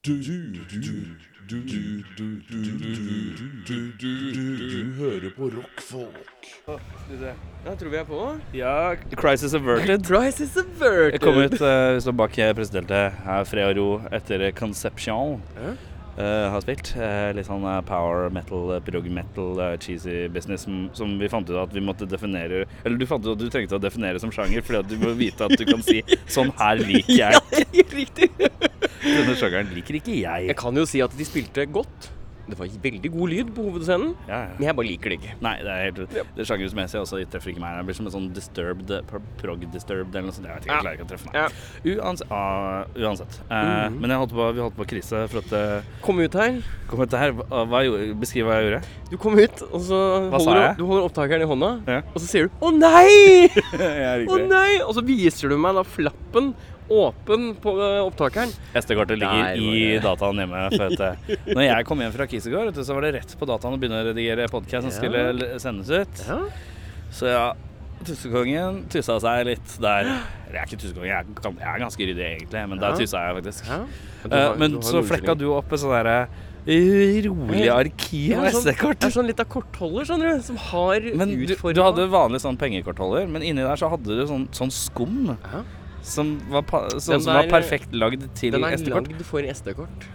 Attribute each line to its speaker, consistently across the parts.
Speaker 1: Du, du, du, du, du, du, du, du, du, du, du, du hører på rockfolk.
Speaker 2: Da tror vi er på.
Speaker 3: Ja, Crisis Averted.
Speaker 2: Price is averted.
Speaker 3: Jeg kom ut uh, står bak presidentet her, Fred og Ro, etter Conception.
Speaker 2: Ja.
Speaker 3: eh, har spilt eh, litt sånn eh, power metal, eh, prog metal, eh, cheesy business som, som vi fant ut at vi måtte definere Eller du fant ut at du trengte å definere som sjanger, fordi at du må vite at du kan si 'sånn her liker jeg'.
Speaker 2: Ja, riktig.
Speaker 3: Denne sjangeren liker ikke
Speaker 2: Jeg
Speaker 3: jeg.
Speaker 2: kan jo si at de spilte godt. Det var veldig god lyd på hovedscenen,
Speaker 3: Ja, ja.
Speaker 2: men jeg bare liker det ikke.
Speaker 3: Nei, det er helt Det er sjangermessig også. Jeg treffer ikke meg. Jeg blir som en sånn disturbed, pro- prog-disturbed eller noe sånt. Jeg vet ikke,
Speaker 2: Ja.
Speaker 3: jeg klarer ikke å treffe meg.
Speaker 2: Ja.
Speaker 3: Uans ah, uansett. Eh,
Speaker 2: Mhm.
Speaker 3: Men jeg holdt på, vi holdt på å krise for at eh,
Speaker 2: Kom ut her.
Speaker 3: Kom etter her, hva, hva, gjorde- beskriv hva jeg gjorde.
Speaker 2: Du kom ut, og så
Speaker 3: Hva sa
Speaker 2: holder
Speaker 3: jeg?
Speaker 2: du, du holder opptakeren i hånda,
Speaker 3: Ja.
Speaker 2: og så sier du 'Å nei!
Speaker 3: jeg
Speaker 2: Å nei!' Og så viser du meg da flappen åpen på eh, opptakeren.
Speaker 3: SD-kortet
Speaker 2: Der var
Speaker 3: ligger i
Speaker 2: det.
Speaker 3: dataen hjemme. For at, eh, når jeg kom hjem fra Kis i går, vet du, så var det rett på dataen å begynne å redigere podkast som
Speaker 2: Ja.
Speaker 3: skulle l- sendes ut.
Speaker 2: Ja.
Speaker 3: Så ja, tussekongen tussa seg litt der. Eller jeg er ikke tussekongen, jeg er, gans- jeg er ganske ryddig egentlig, men
Speaker 2: Ja.
Speaker 3: der tussa jeg faktisk.
Speaker 2: Ja. Men, du
Speaker 3: Eh,
Speaker 2: har- du
Speaker 3: men
Speaker 2: har
Speaker 3: så
Speaker 2: noen
Speaker 3: flekka
Speaker 2: unnskyldninger.
Speaker 3: du opp et sånn derre eh, rolig arkiv
Speaker 2: Ja,
Speaker 3: av
Speaker 2: sånn-
Speaker 3: SD-kort.
Speaker 2: Det er sånn litt av kortholder, skjønner du, som har
Speaker 3: Men du,
Speaker 2: utforma
Speaker 3: du hadde vanlig sånn pengekortholder, men inni der så hadde du sånn, sånn skum.
Speaker 2: Ja.
Speaker 3: Som var, pa
Speaker 2: Den
Speaker 3: sånn som var
Speaker 2: der-
Speaker 3: perfekt lagd til
Speaker 2: Den er
Speaker 3: SD-kort.
Speaker 2: lagd for SD-kort.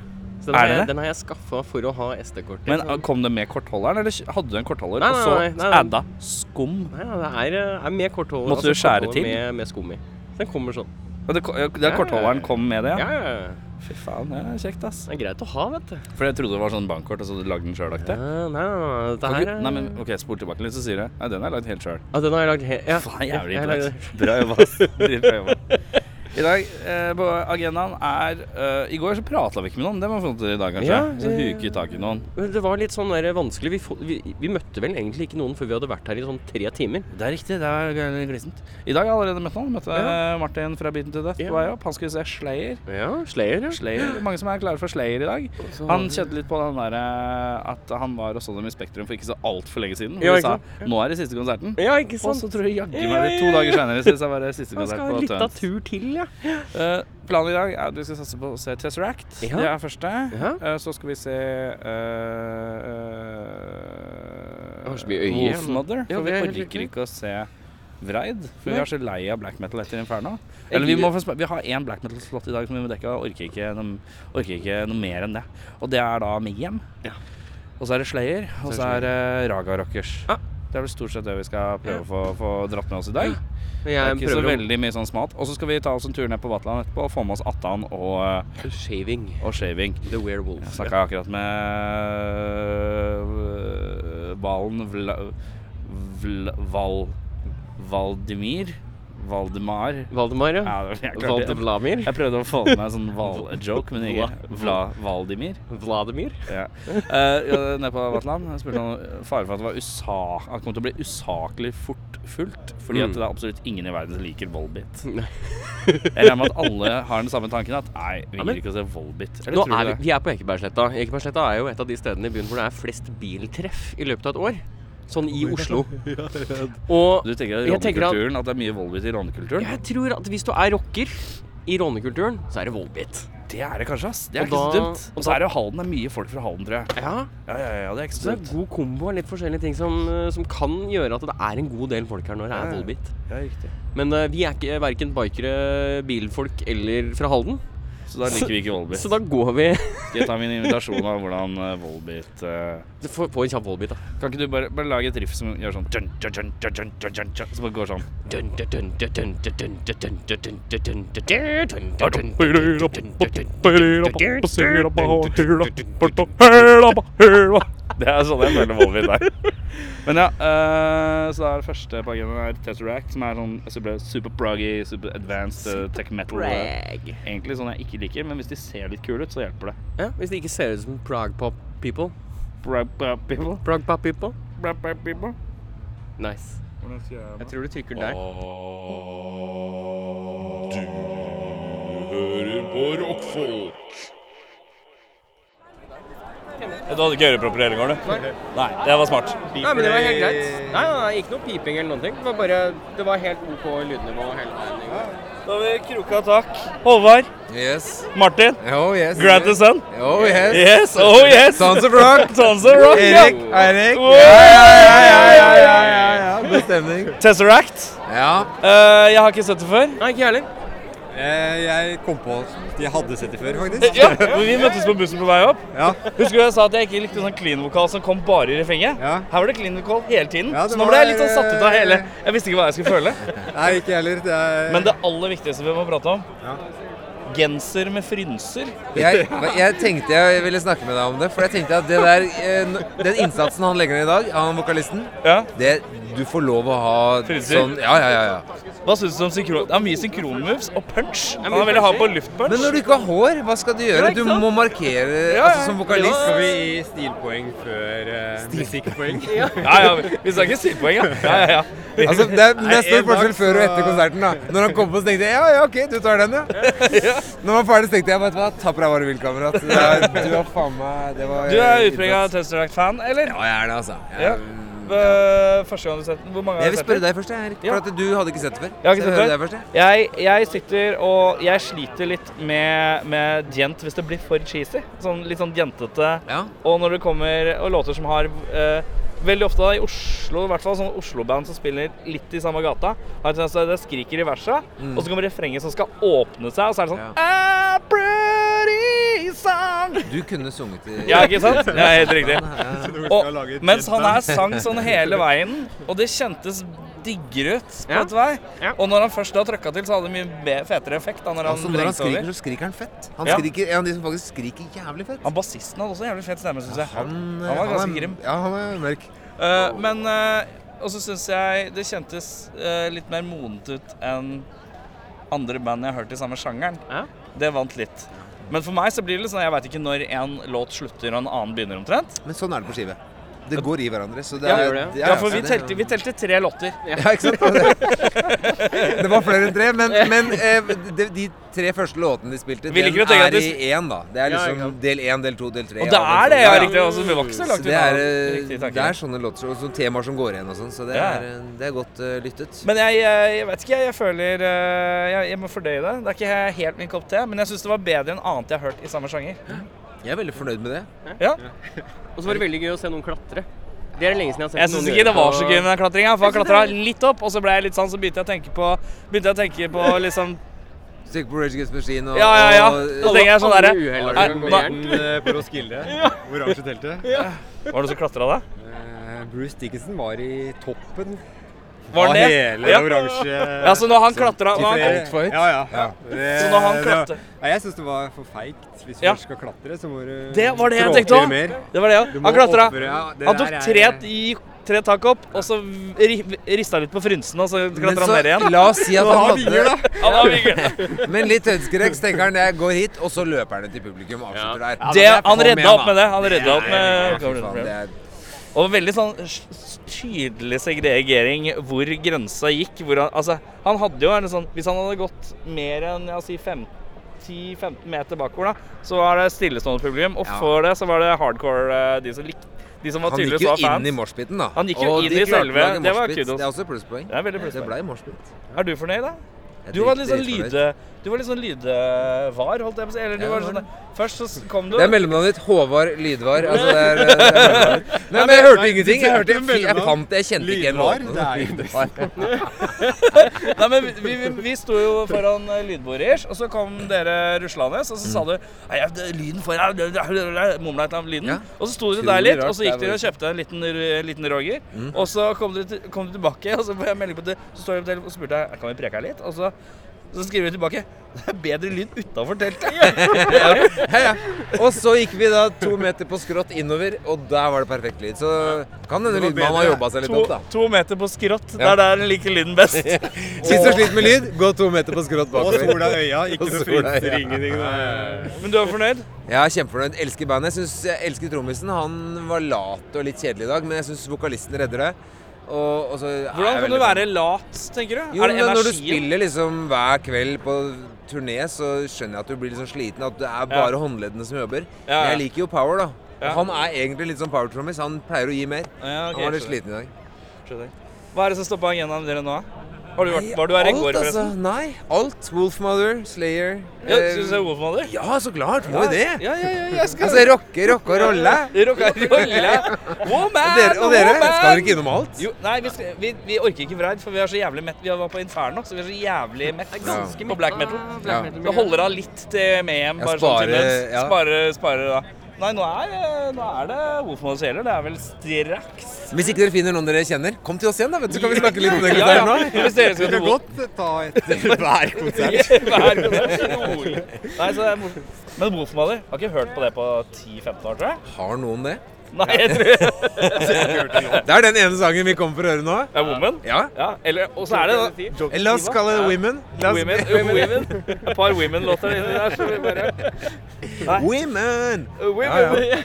Speaker 2: Så
Speaker 3: Er
Speaker 2: den, har
Speaker 3: det
Speaker 2: jeg-
Speaker 3: det?
Speaker 2: den har jeg skaffa for å ha SD-kort.
Speaker 3: Men ah, kom det med kortholderen, eller kj- hadde du en kortholder?
Speaker 2: Nei, nei, nei,
Speaker 3: og
Speaker 2: nei,
Speaker 3: så
Speaker 2: nei.
Speaker 3: adda skum.
Speaker 2: Nei, ja, det er, eh, er med kortholder.
Speaker 3: Måtte du skjære
Speaker 2: kortholder
Speaker 3: til?
Speaker 2: Med, med skum i. Så Den kommer sånn.
Speaker 3: Og det, ko- ja, det
Speaker 2: Ja,
Speaker 3: kortholderen
Speaker 2: ja.
Speaker 3: kom med det,
Speaker 2: Ja,
Speaker 3: ja?
Speaker 2: ja, ja.
Speaker 3: Fy faen, det er kjekt, ass.
Speaker 2: Det er greit å ha, vet du.
Speaker 3: For jeg trodde det var sånn bankkort, og så hadde du lagd den sjøl,
Speaker 2: Ja,
Speaker 3: aktig.
Speaker 2: nei, nei, nei, dette
Speaker 3: Og
Speaker 2: her eh,
Speaker 3: gud-
Speaker 2: er-
Speaker 3: Nei, men OK, spol tilbake litt, så sier jeg Nei, den er lagd helt sjøl.
Speaker 2: Ja, den har jeg lagd helt ja.
Speaker 3: Faen, jævlig
Speaker 2: Jeg har lagd-
Speaker 3: imponert. Bra jobba, ass. Dritbra jobba. I dag eh, på agendaen er eh, I går så prata vi ikke med noen, det må vi få til i dag, kanskje.
Speaker 2: Ja,
Speaker 3: så
Speaker 2: eh,
Speaker 3: huket tak i noen.
Speaker 2: Men Det var litt sånn der vanskelig. Vi, få- vi, vi møtte vel egentlig ikke noen før vi hadde vært her i sånn tre timer.
Speaker 3: Det er riktig, det er glissent. I dag har jeg allerede møtt noen. Møtte
Speaker 2: Ja.
Speaker 3: eh, Martin fra Beaten to Death
Speaker 2: Ja.
Speaker 3: på vei opp. Han skulle se Slayer.
Speaker 2: Ja, Slayer, ja.
Speaker 3: Slayer. Mange som er klare for Slayer i dag.
Speaker 2: Så-
Speaker 3: Han kjente litt på den der, eh, at han var og så dem i Spektrum for ikke så altfor lenge siden. Hvor
Speaker 2: Ja,
Speaker 3: de
Speaker 2: ikke
Speaker 3: sa
Speaker 2: sant?
Speaker 3: 'nå er det siste konserten'.
Speaker 2: Ja, ikke
Speaker 3: Og
Speaker 2: sant?
Speaker 3: så tror jeg jaggu
Speaker 2: Ja,
Speaker 3: meg det to
Speaker 2: ja,
Speaker 3: dager
Speaker 2: ja.
Speaker 3: seinere syns jeg var det siste
Speaker 2: Han skal
Speaker 3: konsert
Speaker 2: ha
Speaker 3: på
Speaker 2: litt av
Speaker 3: Tønt.
Speaker 2: tur til, ja.
Speaker 3: Eh, planen i dag er at vi skal satse på å se Tesseract.
Speaker 2: Ja.
Speaker 3: Det er første.
Speaker 2: Ja.
Speaker 3: Eh, så skal vi se uh,
Speaker 2: Har så mye øye.
Speaker 3: Wolfmother.
Speaker 2: Ja, det
Speaker 3: for vi
Speaker 2: er helt
Speaker 3: orker
Speaker 2: riktig.
Speaker 3: ikke å se Vreid. For
Speaker 2: Nei.
Speaker 3: vi er så lei av black metal etter Inferno.
Speaker 2: Jeg
Speaker 3: Eller vi, må,
Speaker 2: gir-
Speaker 3: få sp- vi har én black metal-slott i dag som vi må dekke. Og orker ikke, noe- orker ikke noe mer enn det. Og det er da Mayhem.
Speaker 2: Ja.
Speaker 3: Og så er det Slayer. Og
Speaker 2: Så er det
Speaker 3: så er det Raga Rockers.
Speaker 2: Ja.
Speaker 3: Det er vel stort sett det vi skal
Speaker 2: Ja.
Speaker 3: prøve å få, få dratt med oss i dag.
Speaker 2: Men
Speaker 3: Det er
Speaker 2: jeg
Speaker 3: ikke så
Speaker 2: prøver
Speaker 3: veldig mye sånn smalt. Og så skal vi ta oss en tur ned på Vatland etterpå og få med oss Attan og, eh,
Speaker 2: å Shaving.
Speaker 3: og shaving.
Speaker 2: The Werewolf.
Speaker 3: Jeg snakka akkurat med eh, Valen Vla... Vl, Val... Valdemir? Valdemar?
Speaker 2: Valdemar, ja.
Speaker 3: Ja, det- jeg, klarte, det.
Speaker 2: Valdemar.
Speaker 3: jeg prøvde å få med meg en sånn Val-joke, men ikke Vla, Valdimir.
Speaker 2: Vladimir.
Speaker 3: Ja. Eh, ja, nede på Vatland jeg spurte han faren for at det var USA, at det kom til å bli usaklig fort fullt. Fordi
Speaker 2: Mm.
Speaker 3: at det er absolutt ingen i verden som liker Volbit.
Speaker 2: Nei.
Speaker 3: Jeg regner med at alle har den samme tanken at nei, vi
Speaker 2: Ja, men-
Speaker 3: gidder ikke å se Volbit. Eller
Speaker 2: Nå
Speaker 3: tror
Speaker 2: er
Speaker 3: du
Speaker 2: vi,
Speaker 3: det?
Speaker 2: vi er på Ekebergsletta. Ekebergsletta er jo et av de stedene i byen hvor det er flest biltreff i løpet av et år. Sånn i Oslo. Og
Speaker 3: Du tenker at
Speaker 2: Jeg tenker at-
Speaker 3: rånekulturen, at det er mye Volbit i rånekulturen?
Speaker 2: jeg tror at hvis du er rocker i rånekulturen, så er det Volbit.
Speaker 3: Det er det kanskje, ass. Det er
Speaker 2: Og
Speaker 3: ikke så
Speaker 2: da-
Speaker 3: dumt.
Speaker 2: og
Speaker 3: Og
Speaker 2: da-
Speaker 3: så er det jo Halden. Det er mye folk fra Halden, tror jeg.
Speaker 2: Ja,
Speaker 3: Ja, ja, ja, det er ikke
Speaker 2: så
Speaker 3: så
Speaker 2: det er
Speaker 3: dumt.
Speaker 2: god kombo av litt forskjellige ting som, eh, som kan gjøre at det er en god del folk her når det
Speaker 3: Ja,
Speaker 2: er
Speaker 3: ja.
Speaker 2: Volbit.
Speaker 3: Ja, riktig.
Speaker 2: Men eh, vi er ikke verken bikere, bilfolk eller fra Halden,
Speaker 3: Så da liker vi ikke Volbit.
Speaker 2: så da går vi
Speaker 3: Skal jeg ta min invitasjon av hvordan eh, Volbit eh,
Speaker 2: Få få en kjapp Volbit, da.
Speaker 3: Kan ikke du bare, bare lage et riff som gjør sånn dun, dun, dun, dun, dun, dun, dun, dun, Som bare går sånn Det er sånn jeg føler Volvin der Men ja, eh, så er det første på agendaen er Tesseract Som er sånn super, super proggy, super advanced eh, tech metal eh,
Speaker 2: Brag.
Speaker 3: Egentlig sånn jeg ikke liker, men hvis de ser litt kule ut så hjelper det
Speaker 2: Ja, hvis det ikke ser ut som Prague Pop People.
Speaker 3: Prog prog people
Speaker 2: Prague Pop People.
Speaker 3: Prog prog people
Speaker 2: Nice.
Speaker 3: Hvordan skal jeg
Speaker 2: Jeg tror du trykker der.
Speaker 1: Du hører på rockfolk.
Speaker 3: Eh, Du hadde ikke ørepropper i hele gården? du?
Speaker 2: Nei.
Speaker 3: Nei, det var smart.
Speaker 2: Nei, men det var helt greit. Nei, nei, nei, ikke noe piping eller noen ting. Det var bare Det var helt OK lydnivå hele veien. i går.
Speaker 3: Da har vi kroka takk. Håvard.
Speaker 4: Yes.
Speaker 3: Martin.
Speaker 4: Oh, yes.
Speaker 3: Grab the sun.
Speaker 4: Oh, yes.
Speaker 3: Yes, oh yes!
Speaker 4: Sons of Rock.
Speaker 3: Sons of Rock, ja.
Speaker 4: Erik, Eirik.
Speaker 3: Wow.
Speaker 4: Ja, ja, ja, ja, ja, ja, ja. God stemning.
Speaker 3: Tesseract.
Speaker 4: Ja.
Speaker 3: Eh, jeg har ikke sett det før.
Speaker 2: Nei, ikke jeg heller.
Speaker 4: Eh, Jeg kom på at jeg hadde sett det før, faktisk.
Speaker 3: Ja, men Vi møttes på bussen på vei opp.
Speaker 4: Ja.
Speaker 3: Husker du jeg sa at jeg ikke likte sånn clean-vokal som kom bare i refrenget?
Speaker 4: Ja.
Speaker 3: Her var det clean-vokal hele tiden.
Speaker 4: Ja, det
Speaker 3: så nå ble jeg litt
Speaker 4: var,
Speaker 3: sånn satt ut av hele Jeg visste ikke hva jeg skulle føle.
Speaker 4: Nei, ikke heller. Det er...
Speaker 3: Men det aller viktigste vi må prate om
Speaker 4: Ja.
Speaker 3: Genser med frynser.
Speaker 4: jeg, jeg tenkte jeg ville snakke med deg om det, for jeg tenkte at det der, eh, n- den innsatsen han legger ned i dag, han vokalisten,
Speaker 3: Ja.
Speaker 4: det du får lov å ha
Speaker 3: Frynser?
Speaker 4: sånn Ja, ja, ja. ja.
Speaker 3: Hva syns du om synkron... Det er mye synkronmoves og punch. Han ville ha på luftpunch.
Speaker 4: Men når du ikke har hår, hva skal du gjøre?
Speaker 3: Ja,
Speaker 4: Du
Speaker 3: ikke sant?
Speaker 4: må markere
Speaker 3: Ja,
Speaker 4: altså,
Speaker 3: ja.
Speaker 4: som vokalist.
Speaker 3: Ja.
Speaker 5: Skal vi gi stilpoeng før eh, musikkpoeng?
Speaker 3: Ja, ja, vi- vi snakker stilpoeng, ja. ja, ja, ja.
Speaker 4: Altså, det er, det er stor
Speaker 5: en dag
Speaker 4: forskjell før og
Speaker 5: så-
Speaker 4: etter konserten. da Når han kom på, så tenkte jeg ja, ja, ok, du tar den, ja. Når han var ferdig, så tenkte jeg vet du hva, ta på deg hva du vil, kamerat. Det er- Du har faen meg Det var
Speaker 3: Du er utprega Tesseract-fan, eller?
Speaker 4: Ja, jeg er det, altså. Jeg,
Speaker 3: eh, Ja. Eh, Første gang du har sett den. Hvor mange har
Speaker 4: jeg
Speaker 3: du
Speaker 4: vil
Speaker 3: sett
Speaker 4: spørre
Speaker 3: den?
Speaker 4: deg først, jeg, Erik.
Speaker 3: Ja.
Speaker 4: For at du hadde ikke sett det før.
Speaker 3: Jeg har ikke
Speaker 4: Så
Speaker 3: sett det.
Speaker 4: hører deg først, jeg.
Speaker 3: Jeg, jeg sitter og jeg sliter litt med, med gent hvis det blir for cheesy. Sånn, litt sånn jentete.
Speaker 4: Ja.
Speaker 3: Og når det kommer og låter som har eh, Veldig ofte da, i Oslo, i hvert fall sånn Oslo-band som spiller litt i samme gata, har en tendens til at det skriker i versa, og så kommer refrenget som skal åpne seg, og så er det sånn A pretty song
Speaker 4: Du kunne sunget i
Speaker 3: Ja, ikke sant? Ja, helt riktig.
Speaker 5: skal lage
Speaker 3: Og,
Speaker 5: et
Speaker 3: mens
Speaker 5: fint
Speaker 3: han her sang sånn hele veien, og det kjentes diggere ut på
Speaker 2: Ja.
Speaker 3: et vei.
Speaker 2: Ja.
Speaker 3: Og når han først da trøkka til, så hadde det mye be- fetere effekt. Da, når han
Speaker 4: Altså, når han
Speaker 3: vrengte
Speaker 4: skriker,
Speaker 3: over.
Speaker 4: så skriker han fett. Han
Speaker 3: Ja.
Speaker 4: skriker, er en av de som faktisk skriker jævlig fett.
Speaker 3: Han bassisten hadde også en jævlig fet stemme, syns jeg. Han,
Speaker 4: eh,
Speaker 3: var ganske
Speaker 4: er-
Speaker 3: grim.
Speaker 4: Ja, han er mørk.
Speaker 3: Eh, men eh, Og så syns jeg det kjentes eh, litt mer modent ut enn andre band jeg har hørt i samme sjangeren.
Speaker 2: Ja.
Speaker 3: Det vant litt. Men for meg så blir det litt sånn Jeg veit ikke når en låt slutter og en annen begynner, omtrent.
Speaker 4: Men sånn er det på skive. Det går i hverandre, så det
Speaker 3: Ja,
Speaker 4: er
Speaker 2: gjør det,
Speaker 3: Ja, for vi
Speaker 4: det-
Speaker 3: telte, vi telte tre låter.
Speaker 4: Ja, ikke sant? Det det var flere enn tre, men, men eh, de, de tre første låtene de spilte,
Speaker 3: Vi
Speaker 4: den
Speaker 3: liker å tenke at
Speaker 4: er
Speaker 3: du
Speaker 4: i
Speaker 3: s-
Speaker 4: én, da. Det er
Speaker 2: Ja,
Speaker 4: liksom
Speaker 2: ikke sant.
Speaker 4: del én, del to, del tre.
Speaker 3: Og det
Speaker 4: av
Speaker 3: er
Speaker 4: den
Speaker 3: det, ja,
Speaker 4: første.
Speaker 3: riktig. Altså, vi var ikke så
Speaker 4: Så
Speaker 3: langt
Speaker 4: det
Speaker 3: unna.
Speaker 4: er,
Speaker 3: riktig
Speaker 4: eh,
Speaker 3: tanke.
Speaker 4: det er sånne låter og sånne temaer som går igjen og sånn, så det
Speaker 3: Ja.
Speaker 4: er, eh, det er godt eh, lyttet.
Speaker 3: Men jeg, eh, jeg, jeg vet ikke, jeg, jeg føler eh, jeg, jeg må fordøye det. Det er ikke he- helt min kopp te, men jeg syns det var bedre enn annet jeg har hørt i samme sjanger.
Speaker 4: Jeg er veldig fornøyd med det.
Speaker 3: Ja.
Speaker 2: Og så var det veldig gøy å se noen klatre. Det er det lenge siden jeg har sett
Speaker 3: Jeg syns ikke det
Speaker 2: gjøre
Speaker 3: var
Speaker 2: på-
Speaker 3: så gøy med den klatringa, for jeg klatra litt opp, og så ble jeg litt sånn, så begynte jeg å tenke på Begynte jeg å tenke på liksom
Speaker 4: Stykke på Rage Against the Machine og
Speaker 3: Ja, ja, ja.
Speaker 4: og-
Speaker 3: Så tenker jeg sånn
Speaker 2: Alle
Speaker 3: derre
Speaker 2: uheller
Speaker 3: Nei,
Speaker 2: som går
Speaker 3: da-
Speaker 2: gærent.
Speaker 5: Morten eh, på Roskilde, oransje teltet.
Speaker 3: Var det du som klatra da?
Speaker 5: Eh, Bruce Dickinson var i toppen
Speaker 3: Var
Speaker 5: av
Speaker 3: det?
Speaker 5: hele
Speaker 3: Ja.
Speaker 5: det oransje
Speaker 3: Ja, så når han klatra
Speaker 5: Til flere-
Speaker 4: altfor høyt?
Speaker 5: Ja, ja.
Speaker 4: Ja.
Speaker 5: Det-
Speaker 3: Så når han
Speaker 5: det-
Speaker 3: klatre-
Speaker 5: Nei, jeg syns det var for feigt. Hvis du
Speaker 3: Ja.
Speaker 5: først skal klatre, så må du
Speaker 3: Det var det jeg
Speaker 5: trå
Speaker 3: tenkte
Speaker 5: til
Speaker 3: også.
Speaker 5: mer.
Speaker 3: Det var det, ja.
Speaker 5: Du må
Speaker 3: Han klatra.
Speaker 5: ofre- ja, det
Speaker 3: Han
Speaker 5: der
Speaker 3: tok
Speaker 5: er-
Speaker 3: tre, i- tre tak opp, og så rista litt på frynsen, og
Speaker 4: Men
Speaker 3: så klatra han ned
Speaker 4: så
Speaker 3: igjen.
Speaker 4: la oss si at
Speaker 5: Du har
Speaker 4: han
Speaker 5: vinger, da.
Speaker 4: klatrer,
Speaker 3: Ja, da var vi gøy.
Speaker 4: men litt ønskereks tenker han jeg går hit, og så løper han ut til publikum og avslutter der.
Speaker 3: Det, han redda opp med det. Han redda opp
Speaker 4: Ja,
Speaker 3: med
Speaker 4: fy faen, det er
Speaker 3: Og veldig sånn s- s- tydelig segregering hvor grensa gikk. Hvor han, altså, han hadde jo en sånn Hvis han hadde gått mer enn ja, si fem- 10-15 meter bakover, da, så var det stillestående publikum. Og
Speaker 4: Ja.
Speaker 3: for det så var det hardcore, eh, de som, lik, de som var
Speaker 4: Han
Speaker 3: tydeligvis
Speaker 4: gikk jo
Speaker 3: var
Speaker 4: inn
Speaker 3: fans.
Speaker 4: i moshpiten, da.
Speaker 3: Han gikk jo
Speaker 4: Og
Speaker 3: inn
Speaker 4: de klarte
Speaker 3: i
Speaker 4: å
Speaker 3: selve-
Speaker 4: lage
Speaker 3: det var
Speaker 4: moshpit.
Speaker 3: kudos.
Speaker 4: Det er også plusspoeng.
Speaker 3: Det er veldig
Speaker 4: Det
Speaker 3: plutselig.
Speaker 4: ble moshpit.
Speaker 3: Er du fornøyd, da?
Speaker 4: Jeg
Speaker 3: Du var
Speaker 4: drit-
Speaker 3: litt sånn
Speaker 4: dritfornøyd.
Speaker 3: lyde... Du var litt sånn lydevar, holdt jeg på å si. Eller du
Speaker 4: Ja,
Speaker 3: var
Speaker 4: det var
Speaker 3: sånn Først så s- kom du
Speaker 4: Det er mellomnavnet ditt. Håvard Lydvar. Altså, det er, det er mellomnavnet. Nei, men jeg hørte ingenting. Jeg hørte
Speaker 5: det er
Speaker 4: Jeg
Speaker 5: mellomnavn.
Speaker 4: fant Jeg kjente ikke igjen
Speaker 5: Lydvar,
Speaker 4: låten.
Speaker 5: det er jo det.
Speaker 4: Lydvar.
Speaker 3: Nei, men vi, vi, vi- vi sto jo foran eh, lydbordet, ish, og så kom dere ruslende, og så
Speaker 4: Mm.
Speaker 3: sa du Nei, jeg- det- lyden foran Mumla et eller annet om lyden.
Speaker 4: Ja.
Speaker 3: Og så sto dere der
Speaker 4: Utrolig
Speaker 3: litt,
Speaker 4: rart,
Speaker 3: og så
Speaker 4: det
Speaker 3: gikk
Speaker 4: er Mm.
Speaker 3: dere og
Speaker 4: bare-
Speaker 3: kjøpte en liten, r- liten Roger. Og så kom dere, til- kom dere tilbake, og så får jeg melding på det, så står jeg på telefonen og spurte jeg, kan vi preke her litt. Og så, så skriver vi tilbake det er bedre lyd utafor teltet.
Speaker 4: Ja, ja. Og så gikk vi da to meter på skrått innover, og der var det perfekt lyd. Så kan hende
Speaker 5: Det var
Speaker 4: lydmannen har
Speaker 5: bedre.
Speaker 4: jobba seg litt
Speaker 3: To,
Speaker 4: opp, da.
Speaker 3: to meter på skrått. Det
Speaker 4: Ja.
Speaker 3: er der den liker lyden best.
Speaker 4: Sist du sliter med lyd, gå to meter på skrått
Speaker 5: Og
Speaker 4: bakover.
Speaker 5: sola i øya, ikke
Speaker 4: Og
Speaker 5: noe
Speaker 4: sola i
Speaker 5: frynser,
Speaker 4: øya.
Speaker 5: ingenting. det er-
Speaker 3: Men du er fornøyd?
Speaker 4: Jeg er kjempefornøyd. Elsker bandet. Jeg, synes, jeg elsker trommisen. Han var lat og litt kjedelig i dag, men jeg syns vokalisten redder det. Og, og så er
Speaker 3: Hvordan
Speaker 4: jeg
Speaker 3: kan
Speaker 4: veldig
Speaker 3: du være lat, tenker du?
Speaker 4: Jo,
Speaker 3: er det
Speaker 4: men Når du
Speaker 3: energien?
Speaker 4: spiller liksom hver kveld på turné, så skjønner jeg at du blir litt sånn sliten. At det er bare håndleddene som jobber.
Speaker 3: Ja, ja.
Speaker 4: Men jeg liker jo power, da.
Speaker 3: Ja.
Speaker 4: Og han er egentlig litt sånn power-trommis. Han pleier å gi mer.
Speaker 3: Ja, ok,
Speaker 4: han var litt
Speaker 3: skjønner.
Speaker 4: sliten i dag.
Speaker 3: Skjønner. Hva er det som står på agendaen dere nå? Har du vært,
Speaker 4: Nei,
Speaker 3: var du her i
Speaker 4: alt,
Speaker 3: går,
Speaker 4: altså.
Speaker 3: forresten?
Speaker 4: Nei. Alt. Wolfmother, Slayer
Speaker 3: Ja,
Speaker 4: eh,
Speaker 3: Syns du det er Wolfmother?
Speaker 4: ja, så klart! Må jo det.
Speaker 3: Ja, ja, ja, jeg skal
Speaker 4: Altså, rocke, rocke og rolle.
Speaker 3: Rock and rolle.
Speaker 4: Og
Speaker 3: Woman!
Speaker 4: dere, og dere
Speaker 3: woman!
Speaker 4: skal dere ikke innom alt?
Speaker 3: Jo, nei, vi, skal, vi, vi orker ikke Vreid, for vi er så jævlig mett. Vi var på Inferno, så vi er så jævlig mett
Speaker 4: ganske
Speaker 3: på black metal.
Speaker 4: Ja.
Speaker 3: Vi holder av litt til Mayhem.
Speaker 4: Ja,
Speaker 3: Bare sånn
Speaker 4: spare-
Speaker 3: tilnøds.
Speaker 4: ja.
Speaker 3: Spare, spare, da. Nei, nå er, nå er det Wolfmother Seler. Det er vel straks.
Speaker 4: Hvis ikke dere finner noen dere kjenner, kom til oss igjen, da. vet du, Så kan vi snakke litt om det. konserten nå.
Speaker 3: Hvis dere skal
Speaker 5: Du
Speaker 3: til
Speaker 5: kan
Speaker 3: Wolf-
Speaker 5: godt ta etter hver konsert.
Speaker 3: Vær så god. Rolig. Nei, så det er mor- Men Wolfmother har ikke hørt på det på 10-15 år, tror jeg.
Speaker 4: Har noen det?
Speaker 3: Nei, jeg tror
Speaker 4: Det er den ene sangen vi kommer for å høre nå.
Speaker 3: Det er Woman.
Speaker 4: Ja.
Speaker 3: Ja, eller, og så er det da
Speaker 4: La oss kalle det Women. La oss-
Speaker 3: Women, women. Et par women-låter inni der. Så vi bare
Speaker 4: Women!
Speaker 3: Women.
Speaker 4: Ja,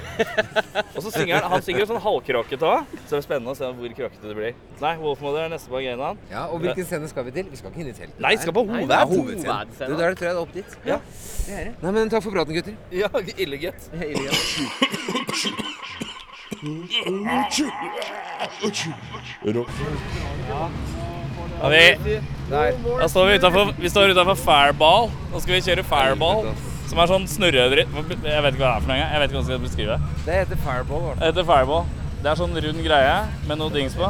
Speaker 3: og så synger han, han synger sånn halvkråkete òg, så det er spennende å se hvor kråkete det blir. Nei, Wolfmother er neste på agendaen.
Speaker 4: Ja, og hvilken scene skal vi til? Vi skal ikke inn i teltet.
Speaker 3: Nei, vi skal på
Speaker 4: Nei,
Speaker 3: Hoved.
Speaker 4: det er hovedscenen.
Speaker 2: Hovedscenen.
Speaker 4: Du, da er det tror jeg det er opp dit.
Speaker 3: Ja.
Speaker 4: Nei, men takk for praten, gutter.
Speaker 3: Ja, ille gutt.
Speaker 1: Rockfall.
Speaker 3: Ja, vi, da står vi utenfor, vi står utenfor Fireball. Nå skal vi kjøre Fireball, som er sånn snurredritt. Jeg vet ikke hva det er for noe. engang. Jeg vet ikke hvordan jeg skal beskrive det.
Speaker 4: Det heter Fireball.
Speaker 3: Det heter fireball. Det er sånn rund greie med noe dings på.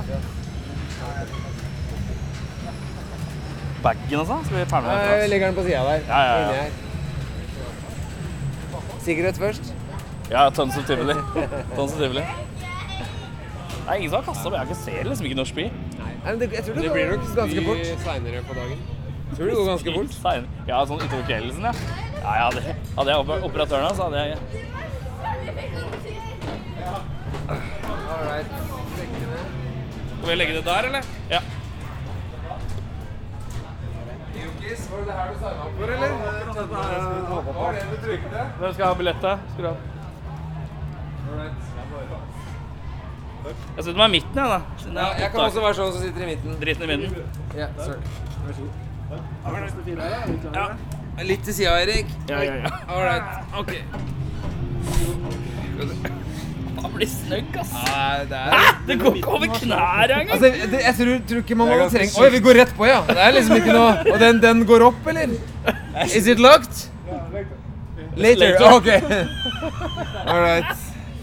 Speaker 3: Baggen og sånn? Skal vi pælme
Speaker 4: Jeg
Speaker 3: den?
Speaker 4: legger den på sida der.
Speaker 3: Ja, ja, ja.
Speaker 4: Inni her. Sikkerhet først.
Speaker 3: Ja, tons of tivoli. Tons of tivoli. Det er ingen som har kasta, men jeg ikke ser liksom ikke noe spy.
Speaker 4: Nei, men det, jeg tror det, går ganske fort.
Speaker 5: seinere på dagen.
Speaker 4: Tror det går ganske fort.
Speaker 3: Sein- Ja, sånn utover kvelden, ja. Ja, ja, det, hadde jeg oper- operatøren hans, hadde jeg Skal vi legge det der, eller? Ja.
Speaker 4: Var det her du signa opp for, eller? Var det du trykte?
Speaker 3: Hvem skal ha billettet? Skal du ha? Jeg setter meg i midten, jeg, da. Siden jeg,
Speaker 4: Jeg kan også være sånn som sitter i midten.
Speaker 3: Dritten i midten.
Speaker 4: Ja, sorry. Litt til sida, Erik.
Speaker 3: Ja, ja, ja.
Speaker 4: All right. OK.
Speaker 3: Han blir snøgg, ass.
Speaker 4: Nei, det er
Speaker 3: Det går ikke over knærne engang.
Speaker 4: Altså, det, jeg tror, tror ikke man må trenge Oi, vi går rett på, ja. Det er liksom ikke noe Og den, den går opp, eller? Is it locked? Later.
Speaker 3: Later.
Speaker 4: OK. All right.